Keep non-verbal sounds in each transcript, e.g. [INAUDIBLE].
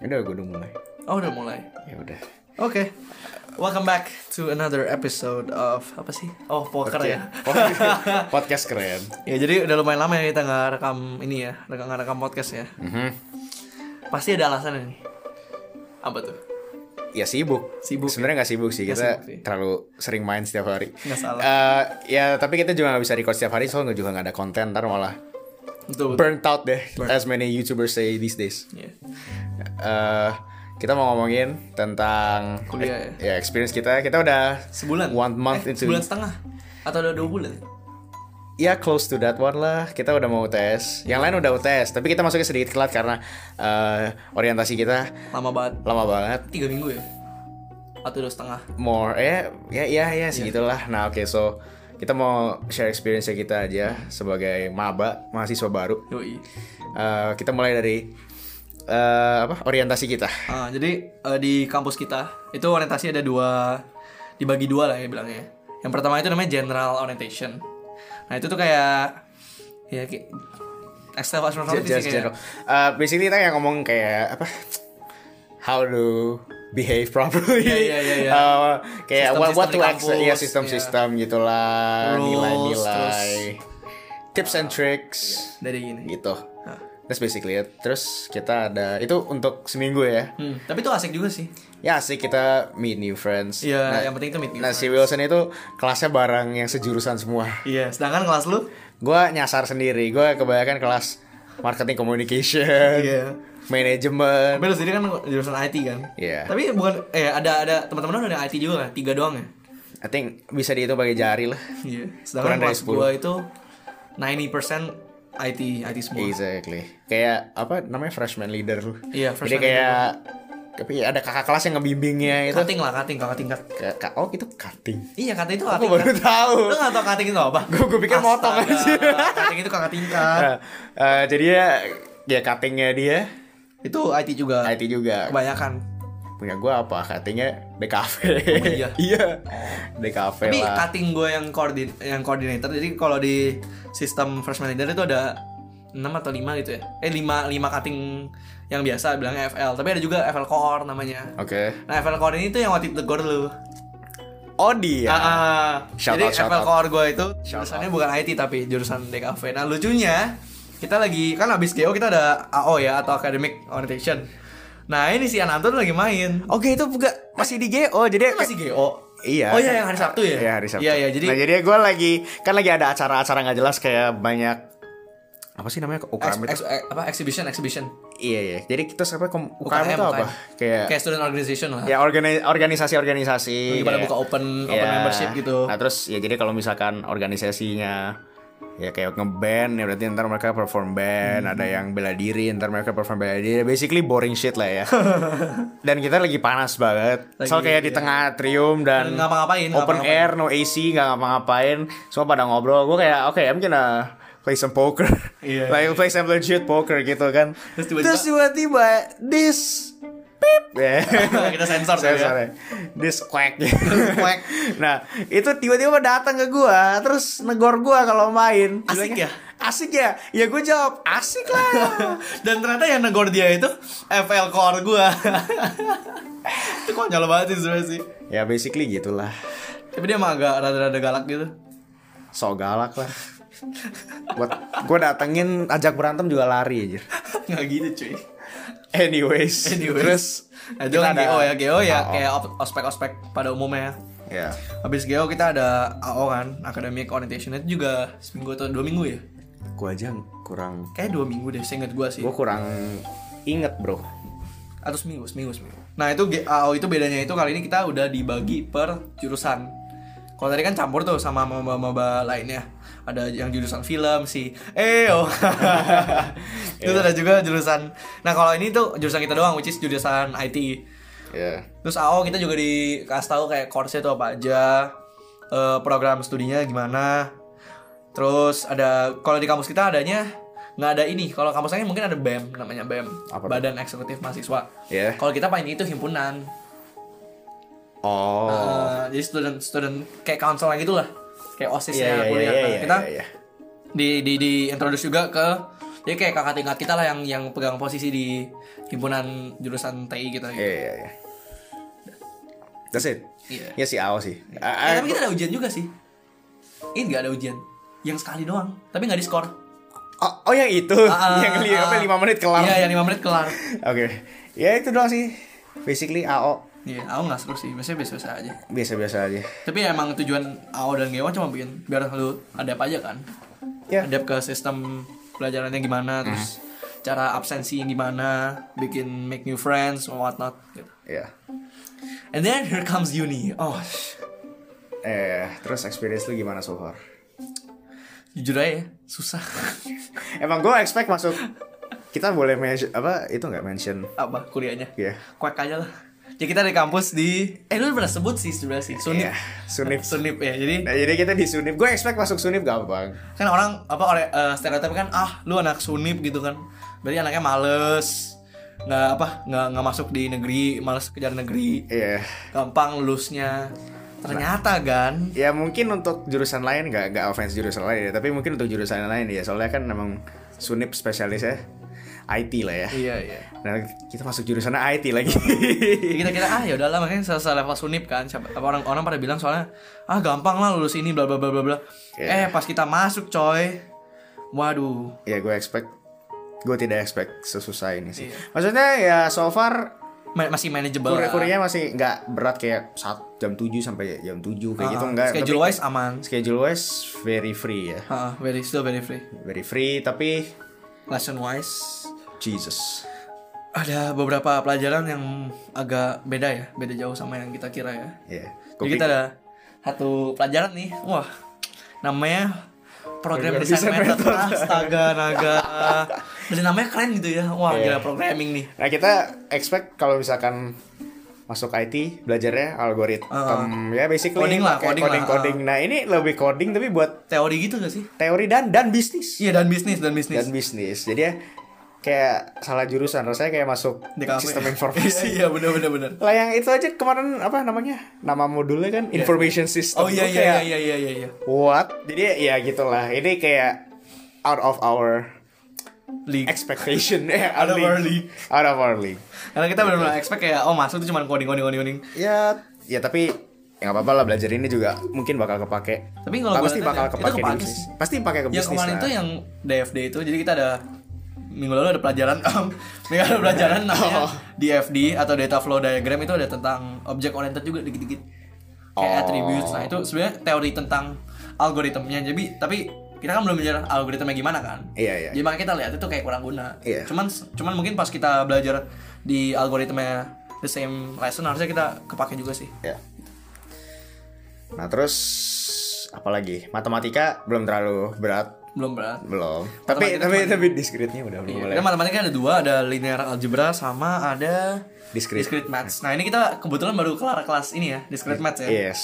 Udah gue udah mulai. Oh udah mulai. Ya udah. Oke. Welcome back to another episode of apa sih? Oh poker ya. Podcast keren. Ya jadi udah lumayan lama ya kita nggak rekam ini ya, nggak nggak rekam podcast ya. Pasti ada alasan nih. Apa tuh? Ya sibuk. Sibuk. Sebenarnya nggak sibuk sih Nggak kita sibuk sih. terlalu sering main setiap hari. Nggak salah. Eh, ya tapi kita juga nggak bisa record setiap hari soalnya juga nggak ada konten ntar malah Betul. betul. burnt out deh as many YouTubers say these days. Iya. Eh, kita mau ngomongin tentang Kuliah ya experience kita. Kita udah Sebulan. one month Eh, into Sebulan setengah. Atau udah dua bulan? ya close to that one lah kita udah mau UTS yang lain udah UTS tapi kita masuknya sedikit telat karena eh, orientasi kita Lama banget. lama banget Tiga minggu ya? Atau dua setengah? more ya ya ya ya Iya. segitulah nah oke so kita mau share experience kita aja sebagai maba mahasiswa baru Yoi. Eh, kita mulai dari eh, apa orientasi kita Ah, jadi eh, di kampus kita itu orientasi ada dua dibagi dua lah ya bilangnya. Yang pertama itu namanya general orientation. Nah itu tuh kayak ya kayak ekstra Ju- astronomi sih just kayak. general Eh, basically kita yang ngomong kayak apa how to behave properly Iya, iya, iya, [LAUGHS] iya. Eh, kayak Sistem-sistem what, what di to kampus, accept ya iya. sistem-sistem gitulah Rules, nilai-nilai tips and tricks dari gini. gitu Nah. that's basically it terus kita ada itu untuk seminggu ya Hmm, tapi itu asik juga sih. ya sih kita meet new friends Iya, Nah, yang penting itu meet new nah si Wilson itu kelasnya barang yang sejurusan semua Iya, sedangkan kelas lu? gue nyasar sendiri gue kebanyakan kelas marketing communication Iya. manajemen Tapi lu sendiri kan jurusan IT kan? Iya. Tapi bukan eh ada ada teman-teman lu ada yang IT juga kan? Tiga doang ya? I think bisa dihitung pakai jari lah Iya. Kurang Sedangkan dari kelas gua itu 90% IT IT semua. exactly kayak apa namanya freshman leader lu Iya, jadi freshman kayak tapi ada kakak kelas yang ngebimbingnya itu Kating lah, kating, kakak tingkat. Ka- ka- oh itu cutting Iya, kating itu aku kating. baru tahu Lu gak tau kating itu apa? Gua- gua pikir motong aja. Kating itu kakak tingkat. Nah, eh, jadi ya ya cuttingnya dia Itu IT juga. IT juga Kebanyakan. punya gua apa cuttingnya DKV iya? [LAUGHS] iya DKV Tapi lah kating gue yang koordin yang koordinator. Jadi kalau di sistem freshman leader itu ada 6 atau 5 gitu ya. Eh 5 5 kating yang biasa bilangnya FL, tapi ada juga FL core namanya. oke Nah, FL core ini tuh yang waktu itu gue dulu. oh dia Ah, ah. Shout Jadi out, shout FL out. Core gue itu Shout jurusannya bukan IT tapi jurusan DKV. Nah lucunya kita lagi kan abis GO kita ada AO ya atau Academic Orientation. Nah ini si Ananto tuh lagi main. oke itu enggak masih di GO jadi Dia masih GO. Iya. Oh iya yang hari Sabtu ya? Iya hari Sabtu. Iya iya jadi Nah jadi gue lagi kan lagi ada acara-acara nggak jelas kayak banyak apa sih namanya ex- UKM itu? ex- ex- apa exhibition exhibition. Iya iya. Jadi kita sampai ke UKM, itu apa? Kayak kayak student organization lah. ya organi- organisasi-organisasi. Lagi pada kayak- buka open- open Iya. membership gitu. Nah terus ya jadi kalau misalkan organisasinya ya kayak ngeband ya berarti ntar mereka perform band Hmm. ada yang bela diri ntar mereka perform bela diri Ya, basically boring shit lah ya [LAUGHS] dan kita lagi panas banget soal Lagi, kayak di iya. tengah atrium dan Dan ngapa-ngapain, open ngapa-ngapain. air no AC nggak ngapa-ngapain semua pada ngobrol gue kayak oke I'm gonna play some poker Iya. [LAUGHS] like play some legit poker gitu kan Terus tiba-tiba- terus tiba-tiba this pip Ya. Kita sensor tuh ya. Sensornya. this quack Quack. [LAUGHS] nah itu tiba-tiba datang ke gua terus negor gua kalau main Asik Bilangnya, ya? asik ya ya gue jawab asik [LAUGHS] lah Dan ternyata yang negor dia itu FL Core gue. [LAUGHS] itu konyol banget sih sebenernya sih. ya basically gitulah Tapi dia emang agak rada-rada galak gitu. [LAUGHS] so galak lah buat gue datengin ajak berantem juga lari aja Nggak gitu cuy. anyways, Anyways. terus Nah, itu kan GO ya, GO ya AO. kayak op- ospek-ospek pada umumnya. ya Habis GO kita ada AO kan, Academic Orientation itu juga seminggu atau dua minggu ya? gue aja kurang Kayak dua minggu deh, seinget gua sih. gue kurang inget bro Atau seminggu, seminggu, seminggu. Nah itu G- AO itu bedanya itu kali ini kita udah dibagi per jurusan. Kalau tadi kan campur tuh sama maba-maba lainnya. Ada yang jurusan film si EO. Terus ada juga jurusan. Nah kalau ini tuh jurusan kita doang, which is jurusan E. IT. ya Terus AO kita juga dikasih tahu kayak course-nya itu apa aja, eh, program studinya gimana. Terus ada kalau di kampus kita adanya nggak ada ini. Kalau kampus lain mungkin ada BEM namanya BEM, Apa tuh? Badan Eksekutif Mahasiswa. Iya. Kalau kita paling itu himpunan. Ah, oh Eh, jadi student student kayak counselan gitu lah. Kayak OSIS-nya Iya, iya, kuliah. iya, Nah, iya, kita iya, iya. di di di introduce juga ke Jadi kayak kakak tingkat kita lah yang yang pegang posisi di himpunan jurusan TI kita. Iya Gitu. iya iya. That's it. Iya. Ya si Ao sih. Eh, A- tapi aku- kita ada ujian juga sih. Ini nggak ada ujian. Yang sekali doang. Tapi nggak Ah, di skor. Oh, oh, [LAUGHS] yang itu [LAUGHS] yang li- apa lima menit kelar. Iya, yang 5 menit kelar. Oke. Ya itu doang sih. Basically AO Iya, aku nggak seru sih. Biasanya biasa-biasa aja. biasa-biasa aja. Tapi ya emang tujuan AO dan GEWA cuma bikin biar lu adapt aja kan. Ya. Adapt ke sistem pelajarannya gimana, Hmm. terus cara absensi gimana, bikin make new friends or whatnot. Gitu. Ya. And then here comes uni. Oh, sh- Eh, terus experience lu gimana so far? jujur aja ya, susah. [LAUGHS] Emang gue expect masuk kita boleh mention apa itu nggak mention Apa kuliahnya? Iya. Kuek aja lah. Jadi kita di kampus di eh lu pernah sebut sih sebenarnya sih Sunip. Iya, Sunip. Sunip ya. Jadi Nah, jadi kita di Sunip. Gue expect masuk Sunip gampang. kan orang apa oleh eh, stereotip kan ah lu anak sunip gitu kan berarti anaknya males nggak apa nggak nggak masuk di negeri males kejar negeri Iya. gampang lulusnya ternyata kan Ya mungkin untuk jurusan lain nggak nggak offense jurusan lain ya, tapi mungkin untuk jurusan lain ya. Soalnya kan emang Sunip spesialisnya IT lah ya. iya iya Nah, kita masuk jurusan IT lagi. [LAUGHS] Jadi kita kira ah ya udahlah makanya selesai level sunip kan siapa apa orang orang pada bilang soalnya ah gampang lah lulus ini bla bla bla bla bla eh Iya. pas kita masuk coy waduh ya gue expect gue tidak expect sesusah ini sih. Iya. Maksudnya ya so far ma- masih manageable kur- ah. lah. kurinya masih nggak berat kayak saat jam 7 sampai jam 7 kayak Ah, gitu enggak. schedule wise aman schedule wise very free ya. Ah, very still very free Very free tapi lesson wise Jesus. ada beberapa pelajaran yang agak beda ya, beda jauh sama yang kita kira ya. Ya. Jadi kita ada satu pelajaran nih, wah namanya program Program desain design method, method. astaga naga, dan namanya keren gitu ya, wah Iya. gila programming nih. Nah kita expect kalau misalkan masuk IT belajarnya algoritma ya basically Ah. Coding lah, pakai coding lah, coding. Nah ini lebih coding tapi buat Teori gitu gak sih? teori dan dan bisnis Iya dan bisnis dan bisnis. dan bisnis. Jadi ya kayak salah jurusan rasanya kayak masuk DKV. [LAUGHS] sistem informasi. Iya iya, bener bener bener. lah yang itu aja kemarin apa namanya nama modulnya kan information system. Oh iya Gua iya kayak, iya iya iya. iya. What? Jadi ya gitulah. Ini kayak out of our League. expectation [LAUGHS] eh Out of our league. out of our league. Karena kita benar-benar Iya. expect kayak oh masuk tuh cuma coding coding coding coding. ya ya tapi ya nggak apa-apa lah belajar ini juga mungkin bakal kepake Tapi kalau Nah, gua pasti lihat bakal ya, itu kepake, di kepake bisnis. sih. pasti pakai ke yang bisnis kemarin lah. itu yang DFD itu jadi kita ada minggu lalu ada pelajaran [LAUGHS] minggu lalu ada pelajaran namanya Oh. DFD atau data flow diagram itu ada tentang object oriented juga dikit-dikit kayak Oh. attributes nah itu sebenarnya teori tentang algoritmnya jadi tapi kita kan belum belajar algoritmnya gimana kan Iya, iya. jadi makanya kita lihat itu kayak kurang guna Iya. cuman cuman mungkin pas kita belajar di algoritmanya the same lesson harusnya kita kepake juga sih ya nah terus apalagi matematika belum terlalu berat belum berat belum tapi Matematika tapi tapi diskritnya udah belum mulai Iya, kita matematika ada dua, ada linear algebra sama ada Discrete. maths. Nah ini kita kebetulan baru kelar kelas ini ya, discrete maths ya. yes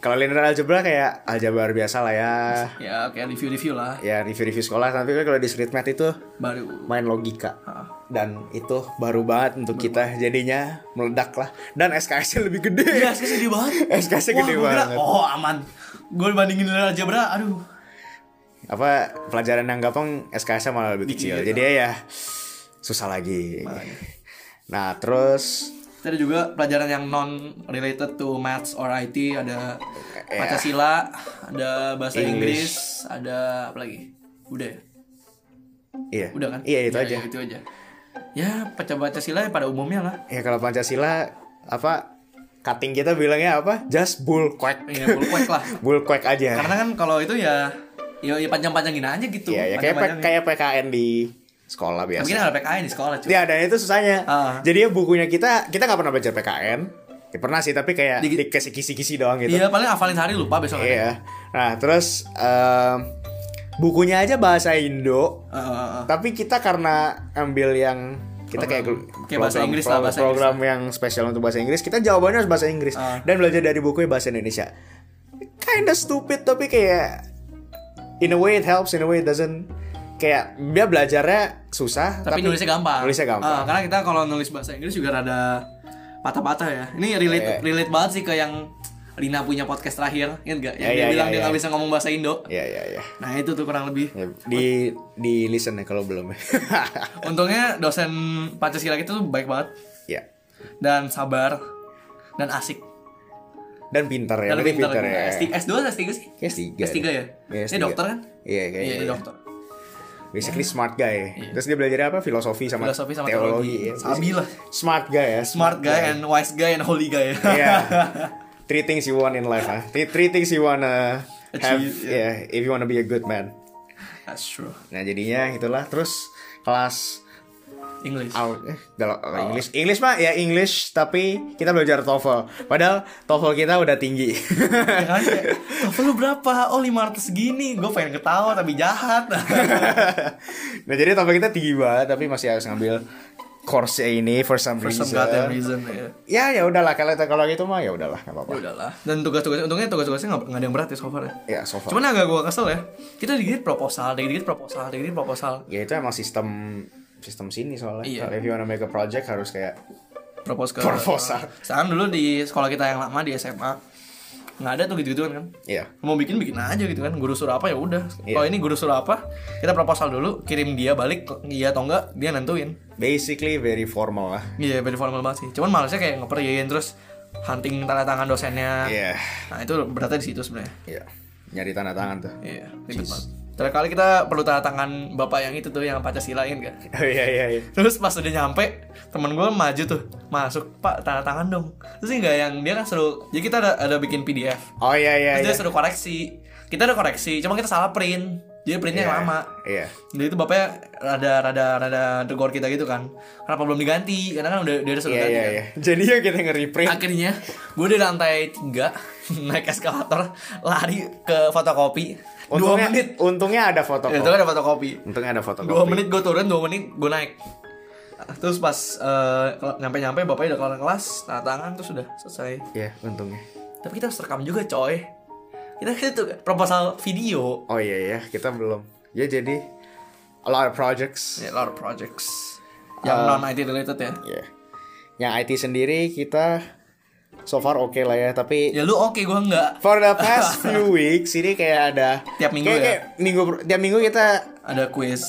kalau linear algebra kayak aljabar biasa lah ya Ya oke review review lah, ya review-review sekolah tapi kalau discrete math itu baru. main logika Ah. dan itu baru banget untuk kita jadinya meledak lah dan SKS lebih gede Iya, SKS gede banget. SKS Wah, gede gua kira, banget. oh aman. Gue bandingin linear algebra, aduh. apa pelajaran yang gampang SKS malah lebih kecil Dikit. jadi ya susah lagi nah terus Kita ada juga pelajaran yang non related to maths or IT, ada Iya. Pancasila, ada bahasa English. Inggris, ada apa lagi? Udah ya? iya Udah kan? iya itu Ya, aja ya, itu aja. Ya, pecah Pancasila ya pada umumnya lah. ya kalau Pancasila apa cutting kita bilangnya apa just bull quack Iya, bullquack [LAUGHS] lah. bull quack aja Karena kan kalau itu ya ya, ya panjang-panjangin aja gitu. Iya, ya, kayak ya. P- panjang-panjangin. kayak PKN di sekolah biasa Mungkin ada PKN di sekolah cuy. ya dan itu susahnya Ah. jadi ya bukunya kita kita nggak pernah belajar PKN ya, pernah sih tapi kayak Dikit. dikasih kisi-kisi doang gitu Iya, paling hafalin hari lupa besok. Iya. Nah, terus em, bukunya aja bahasa Indo, Eh, eh, eh. tapi kita karena ambil yang kita kayak Program- gel- kayak bahasa Inggris lah, program, bahasa program yang spesial untuk bahasa Inggris, kita jawabannya harus bahasa Inggris Ah. dan belajar dari bukunya bahasa Indonesia. Kinda stupid tapi kayak in a way it helps, in a way it doesn't. Kayak dia belajarnya susah, Tapi, nulisnya gampang. Nulisnya gampang. Eh, karena kita kalau nulis bahasa Inggris juga rada patah-patah ya. Ini Iya. relate relate banget sih ke yang Rina punya podcast terakhir ingat gak yang Ya, dia ya, bilang ya, dia ya. nggak bisa ngomong bahasa Indo ya ya ya nah itu tuh kurang lebih Ya, di di listen ya kalau belum [LAUGHS] untungnya dosen Pancasila itu tuh baik banget ya dan sabar dan asik dan pintar ya dan berarti pintar, ya S3, S2 atau S3 sih Kayak S3 S3 ya? Iya, Dia dokter kan? Iya iya kayaknya dia iya. dokter Iya. Basically smart guy Terus dia belajar apa? Filosofi sama, Filosofi sama teologi. teologi, ya. Sabi lah. Smart guy ya smart guy kan? and wise guy and holy guy Iya [LAUGHS] Three things you want in life ah. Three, three things you wanna have Achieve, yeah. If you wanna be a good man that's true Nah jadinya itulah Terus kelas English Au- eh, kalau Oh. kalau English English mah ya English tapi kita belajar TOEFL padahal TOEFL kita udah tinggi [LAUGHS] Ya kan kayak, "Tofu lu berapa? Oh 500 gini Gue pengen ketawa tapi jahat nah jadi TOEFL kita tinggi banget tapi masih harus ngambil course ini for some [LAUGHS] For some reason goddamn reason ya. ya ya udahlah kalau kalau gitu mah ya udahlah nggak apa-apa Ya udahlah Dan tugas-tugas Untungnya tugas-tugasnya gak, ada yang berat ya so far ya ya so far Cuman agak gue kesel ya Kita dikit proposal Dikit proposal Dikit proposal ya itu emang sistem sistem sini soalnya Iya. Kalau if you wanna make a project harus kayak Propos ke Proposal. Sekarang dulu di sekolah kita yang lama di SMA nggak ada tuh gitu-gituan kan ya mau bikin bikin aja gitu kan guru suruh apa ya udah Iya. kalau ini guru suruh apa kita proposal dulu kirim dia balik iya atau enggak dia nentuin basically very formal lah Iya, very formal banget sih. Cuman malesnya kayak ngepergiin terus hunting tanda tangan dosennya. ya Nah, itu beratnya di situ sebenarnya. ya nyari tanda tangan tuh Iya, ribet banget. Terakhir kali kita perlu tanda tangan bapak yang itu tuh yang Pancasila kan gak? oh iya iya iya Terus pas udah nyampe, temen gue maju tuh, masuk, Pak, tanda tangan dong. Terus enggak yang dia kan seru, jadi kita ada, ada bikin PDF. oh iya iya iya Terus dia suruh koreksi. Kita ada koreksi, cuma kita salah print. Jadi printnya Iya. lama. iya Jadi itu bapaknya rada rada rada degor kita gitu kan. Kenapa belum diganti? Karena kan udah dia udah suruh Iya ganti. iya kan. iya. Jadi ya kita nge-reprint. akhirnya gue di lantai tiga [LAUGHS] naik eskalator lari ke fotokopi dua Untungnya, menit untungnya ada Ya, itu kan fotokopi. ada fotokopi Untungnya ada fotokopi. dua menit gue turun dua menit gue naik terus pas nyampe nyampe bapaknya udah kelar kelas tanda tangan terus sudah selesai Iya, untungnya. tapi kita harus rekam juga coy kita itu proposal video Oh iya iya, kita belum. Ya jadi a lot of projects. yeah, Ya, a lot of projects Eh. yang non IT related ya Iya. Yang IT sendiri kita so far oke lah ya, tapi ya lu oke gua gue enggak for the [LAUGHS] past few weeks ini kayak ada Tiap minggu kayak, ya? kayak minggu per- tiap minggu kita ada quiz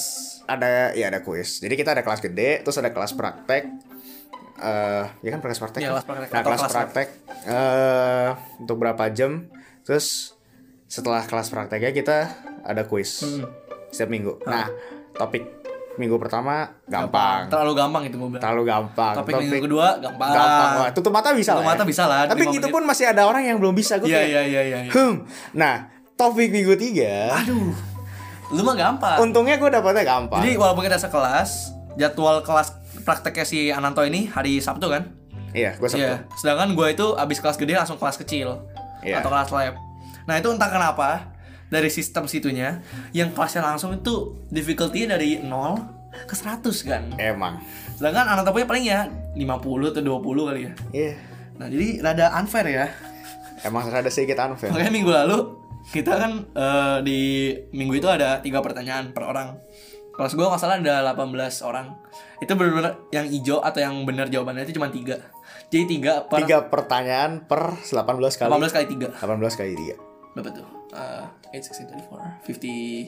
ada ya ada kuis. Jadi kita ada kelas gede, terus ada kelas praktek. eh ya kan kelas praktek. Iya, kan? kelas praktek. Nah, Atau kelas kelas lab. praktek eh untuk berapa jam? Terus setelah kelas prakteknya kita ada kuis Hmm. setiap minggu. Ah. Nah, topik minggu pertama gampang. terlalu gampang itu gue bilang Terlalu gampang. Topik minggu kedua, gampang. Wah, Tutup mata bisa Tutup lah. mata bisa lah, Tapi lima gitu menit. pun masih ada orang yang belum bisa gue iya kayak. iya iya iya iya. Hmm. Nah, topik minggu tiga aduh lu mah gampang untungnya gue dapatnya gampang. Jadi walaupun kita sekelas, jadwal kelas prakteknya si Ananto ini hari Sabtu kan? iya, gue Sabtu. Iya. Sedangkan gue itu abis kelas gede langsung kelas kecil Iya. atau kelas lab. Nah itu entah kenapa dari sistem situnya yang kelasnya langsung itu difficulty dari 0 ke 100 kan. Emang. Sedangkan Ananto punya paling ya 50 atau 20 kali ya. Iya. Nah jadi rada unfair ya. Emang rada sedikit anu, unfair. Makanya minggu lalu kita kan eh, di minggu itu ada tiga pertanyaan per orang. Kelas gue nggak salah ada 18 orang. Itu benar-benar yang hijau atau yang benar jawabannya itu cuma tiga. Jadi tiga per Tiga pertanyaan per 18 kali. 18 kali tiga. 18 kali 3. Berapa tuh? Eh, 8, 16,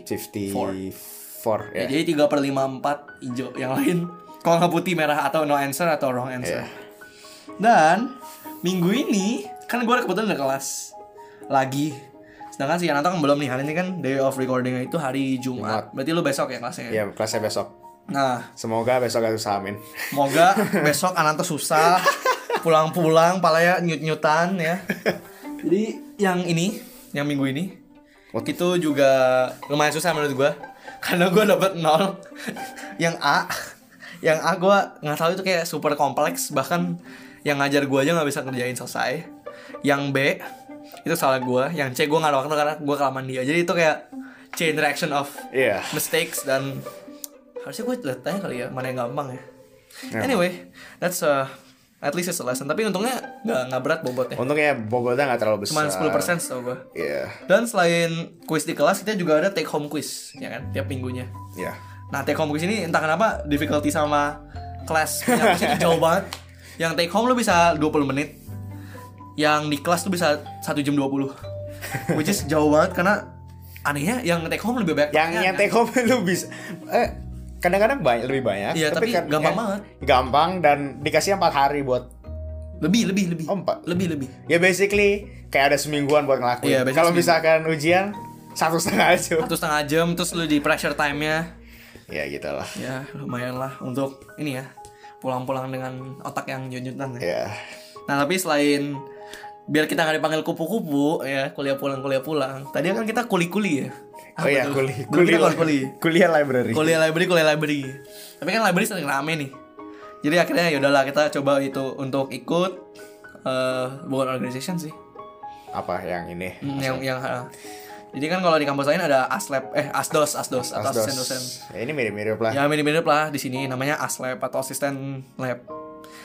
24, 50. 54 Ya, ya. jadi tiga per lima empat hijau. Yang lain kalau nggak putih merah atau no answer atau wrong answer. Iya. Dan minggu ini kan gue kebetulan udah kelas lagi. Sedangkan si Yanata kan belum nih hari ini kan day of recordingnya itu hari Jumat. Berarti lu besok ya kelasnya. Ya, kelasnya besok. Nah, Semoga besok gak susah amin. [LAUGHS] semoga besok Ananto susah pulang-pulang palanya nyut-nyutan ya. Jadi yang ini, yang minggu ini What itu juga lumayan susah menurut gua karena gua dapet nol yang A yang A gua nggak tahu itu kayak super kompleks bahkan yang ngajar gua aja nggak bisa ngerjain selesai yang B itu salah gua yang C gua nggak ada waktu karena gua kelamaan dia jadi itu kayak chain reaction of Iya. mistakes dan harusnya gue udah tanya kali ya mana yang gampang ya anyway that's a at least it's a lesson tapi untungnya nggak nggak berat bobotnya Untungnya bobotnya gak terlalu cuma besar. 10% tau gue Iya. dan selain kuis di kelas kita juga ada take home quiz ya kan tiap minggunya Iya. nah take home quiz ini entah kenapa difficulty sama kelas punya quiz ini jauh banget yang take home lu bisa 20 menit yang di kelas tuh bisa 1 jam 20 which is jauh banget karena anehnya yang take home lebih banyak kan? yang yang take home lu bisa eh kadang-kadang banyak lebih banyak Iya, tapi kan- gampang eh, banget. gampang dan dikasih empat hari buat lebih lebih lebih Oh, empat. lebih lebih ya basically kayak ada semingguan buat ngelakuin Iya, basically kalau seminggu. misalkan ujian satu setengah aja satu setengah jam terus lu di pressure time nya ya gitu lah ya lumayan lah untuk ini ya pulang-pulang dengan otak yang junyutan ya ya. Nah tapi selain biar kita nggak dipanggil kupu-kupu ya kuliah pulang kuliah pulang. Tadi kan kita kuli-kuli ya. oh Apa ya tuh? kuliah Dulu kita kuliah kuli-kuli. kuliah library Kuliah library kuliah library. Tapi kan library sering rame nih. Jadi akhirnya ya udahlah kita coba itu untuk ikut eh bukan organization sih. apa yang ini Hmm, yang yang eh, jadi kan kalau di kampus lain ada aslab eh asdos asdos atau asisten dosen. Ya, ini mirip-mirip lah Ya mirip-mirip lah di sini namanya aslab atau asisten lab.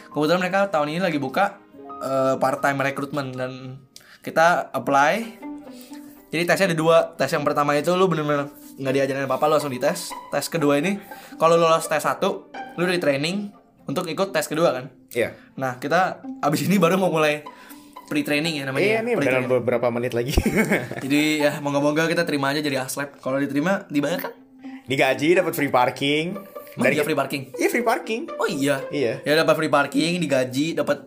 Kebetulan mereka tahun ini lagi buka eh, part time recruitment dan kita apply. Jadi tesnya ada dua. Tes yang pertama itu lu bener-bener nggak diajarin apa-apa lu langsung dites. Tes kedua ini kalau lu lolos tes satu, lu di training untuk ikut tes kedua kan. Iya. Nah kita abis ini baru mau mulai pre training ya namanya. Iya nih Pre-training. dalam beberapa menit lagi [LAUGHS] Jadi ya moga-moga kita terima aja jadi aslab. Kalau diterima dibayar kan? Digaji dapat free parking Emang dia free parking. Iya free parking Oh iya. Iya. Ya dapat free parking, digaji, dapat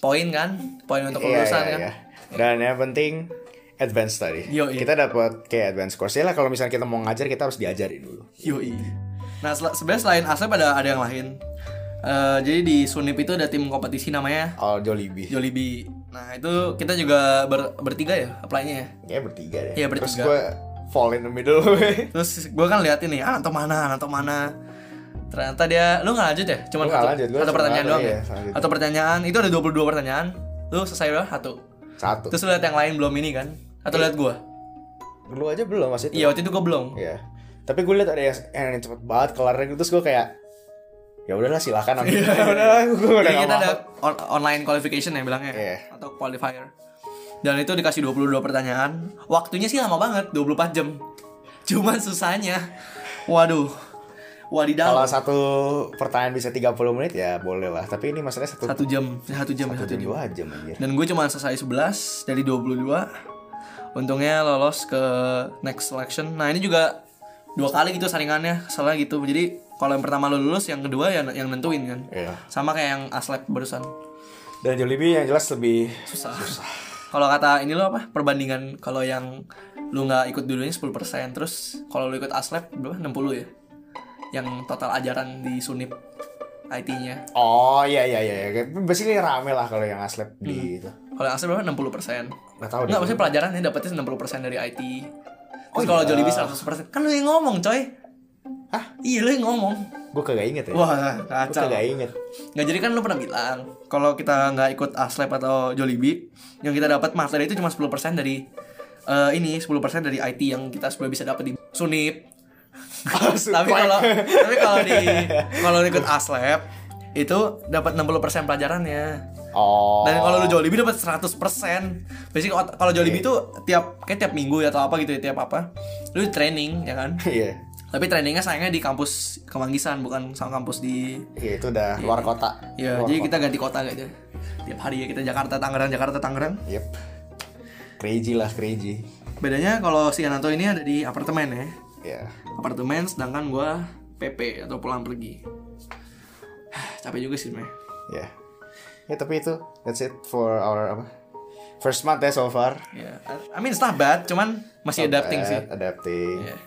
poin kan? Poin untuk Iya, lulusan iya, kan. iya. Dan yang penting advance tadi. Yo, iya. Kita dapat kayak advance course Ya lah kalau misalnya kita mau ngajar kita harus diajarin dulu. Yoi. Nah, sel- sebenarnya selain Asep ada ada yang lain. Eh, jadi di Sunip itu ada tim kompetisi namanya Oh, Jollibee. Jollibee. Nah, itu kita juga ber- bertiga ya apply-nya ya. Ya bertiga deh. Iya, Terus bertiga. gue fall in the middle. [LAUGHS] Terus gue kan liatin nih, ah atau mana, atau mana. Ternyata dia, lu gak lanjut ya? Cuman Gua nggak satu, lanjut, gua satu cuma pertanyaan ada, doang iya, ya? lanjut. Atau pertanyaan, itu ada 22 pertanyaan Lu selesai doang satu Satu. Terus lu liat yang lain belum ini kan? Atau liat gue? Lu aja belum maksudnya. Iya waktu itu gue belum Iya. Tapi gue liat ada yang, yang cepet banget kelarnya gitu terus gue kayak ya udahlah silakan Iya, ambil. Ya [LAUGHS] udahlah gue udah Jadi gak kita mau. ada on- online qualification ya bilangnya Iya. atau qualifier. Dan itu dikasih 22 pertanyaan. Waktunya sih lama banget, 24 jam. Cuman susahnya. Waduh. Kalau Wadidaw. satu pertanyaan bisa 30 menit ya boleh lah. Tapi ini masalahnya satu, Satu jam, satu jam, satu jam. dua jam anjir. Dan gue cuma selesai 11 dari 22. Untungnya lolos ke next selection. Nah, ini juga dua kali gitu saringannya, salah gitu. Jadi kalau yang pertama lo lulus, yang kedua yang yang nentuin kan. Iya. Sama kayak yang aslab barusan. Dan Jollibee yang jelas lebih susah. Kalau kata ini lo apa? Perbandingan kalau yang lu nggak ikut dulunya 10% terus kalau lu ikut aslab berapa? 60 ya. Yang total ajaran di Sunip IT-nya. Oh iya iya iya, iya. basically rame lah kalau yang aslep di itu. Kalau yang aslab berapa? 60%. Nggak tahu deh. Enggak, Hmm. maksudnya pelajarannya dapetnya 60% dari IT. Terus kalau Jollibee 100%. Kan lu yang ngomong, coy. Hah? Iya, lu yang ngomong. Gue kagak inget ya. Wah, Gue kacau. kagak inget. Nggak jadi kan lu pernah bilang kalau kita nggak ikut aslab atau Jollibee yang kita dapat materi itu cuma 10% dari eh, ini 10% dari IT yang kita sebenarnya bisa dapat di Sunip. [LAUGHS] tapi kalau tapi kalau di kalau ikut aslab itu dapat 60% pelajarannya. Oh. Dan kalau lu Jollibee dapat 100%. Basic ot- kalau Jollibee itu tiap kayak tiap minggu ya atau apa gitu ya tiap apa. Lu di training ya kan. Iya. Tapi trainingnya sayangnya di kampus Kemanggisan bukan sama kampus di Iya itu udah luar kota. Ya, Luar jadi kota. kita ganti kota gak aja. Tiap hari ya kita Jakarta Tangerang Jakarta Tangerang. Yep. Crazy lah crazy. Bedanya kalau si Anato ini ada di apartemen ya. Ya. Apartemen sedangkan gua PP atau pulang pergi. Capek juga sih, Meh. Ya. Ya tapi itu that's it for our apa? First month ya so far. Ya. I mean it's not bad, cuman masih adapting sih. Ad- Adapting. Iya.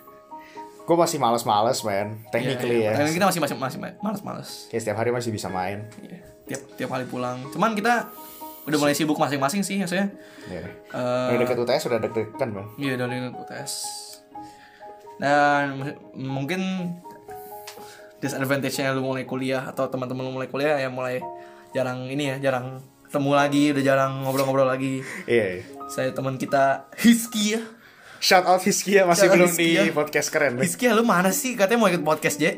Gue masih males-males man. Technically ya. Iya, iya. Dan kita masih masih masih malas-malas. Kayak setiap hari masih bisa main. Iya. Tiap tiap kali pulang. Cuman kita udah mulai sibuk masing-masing sih maksudnya. Ya. Eh, Udah deket UTS udah deg-degan man. Iya dari UTS Dan m- mungkin disadvantage-nya lu mulai kuliah atau teman-teman lu mulai kuliah ya mulai jarang ini ya, jarang ketemu lagi, udah jarang ngobrol-ngobrol lagi. Iya. iya. Saya teman kita Hiski ya. Shout out Hiskia masih Shout out ya. belum di Hiskia. podcast keren. nih. Hiskia lu mana sih? Katanya mau ikut podcast, J. Ya,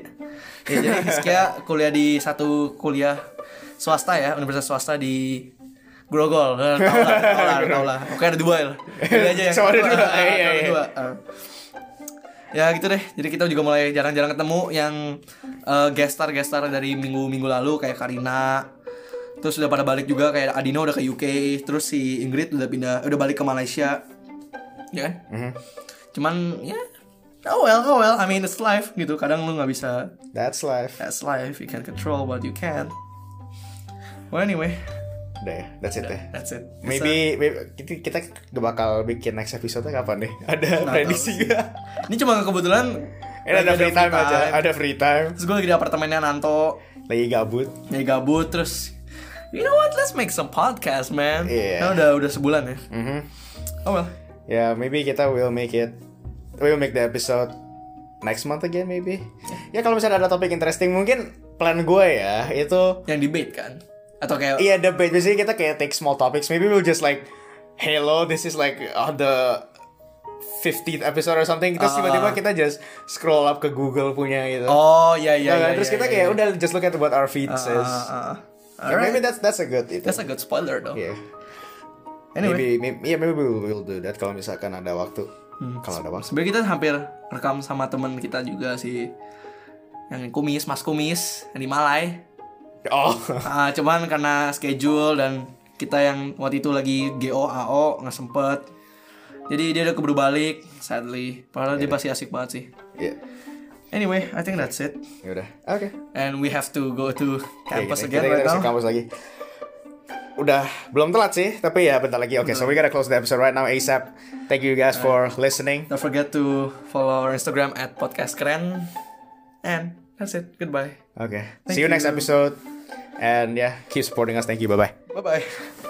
jadi Hiskia kuliah di satu kuliah swasta ya, universitas swasta di Grogol. Eh, Tau [LAUGHS] lah, tau lah, tau lah. Oke ada dua ya. Pilih aja yang Sama ada satu. dua, Ah, ah, iya, [LAUGHS] sama iya. dua. Ah. Ya gitu deh. Jadi kita juga mulai jarang-jarang ketemu yang eh, guest star guest star dari minggu-minggu lalu kayak Karina terus udah pada balik juga kayak Adina udah ke UK terus si Ingrid udah pindah udah balik ke Malaysia ya kan Mhm. cuman ya oh well oh well I mean it's life gitu kadang lu nggak bisa That's life. that's life you can control what you can well anyway Udah ya, that's it ya. that's it It's a- Maybe, maybe kita, kita bakal bikin next episode-nya kapan nih? [LAUGHS] Ada prediksi nggak? ini cuma kebetulan Eh, ada free time aja, ada free time. terus gue lagi di apartemennya Nanto Lagi gabut. ya gabut terus you know what let's make some podcast man Iya. Karena udah udah sebulan ya Mhm. oh well Ya, maybe kita will make it. We'll make the episode next month again maybe. Ya kalau misalnya ada topik interesting mungkin plan gue ya itu yang debate kan atau kayak iya debate biasanya kita kayak take small topics maybe we'll just like hello this is like on the 15th episode or something terus Ah. tiba-tiba kita just scroll up ke Google punya gitu. oh ya ya, Nah, ya terus ya, kita ya, kayak ya. udah just look at what our feed Ah, says. ah, ah. Yeah, alright Maybe that's that's a good itu. that's a good spoiler though Yeah. Maybe, anyway maybe, yeah, maybe we'll, we'll do that kalau misalkan ada waktu. Hmm. Kalau ada waktu. sebenarnya kita hampir rekam sama teman kita juga sih yang kumis mas kumis yang di Malai Oh. [LAUGHS] Ah, cuman karena schedule dan kita yang waktu itu lagi GO AO nggak sempet jadi dia udah keburu balik sadly padahal Iya. dia pasti asik banget sih Ya, Anyway, I think that's it. udah. Oke. And we have to go Oke, to campus Iya, kita- kita, kita again right harus now. ke kampus lagi. Udah, belum telat sih, tapi ya bentar lagi. Oke, so we gotta close the episode right now ASAP. Thank you guys for listening. Don't forget to follow our Instagram at podcast keren. And that's it. Goodbye. Oke. Thank See you next you. episode. And yeah, keep supporting us. Thank you. Bye-bye. Bye bye.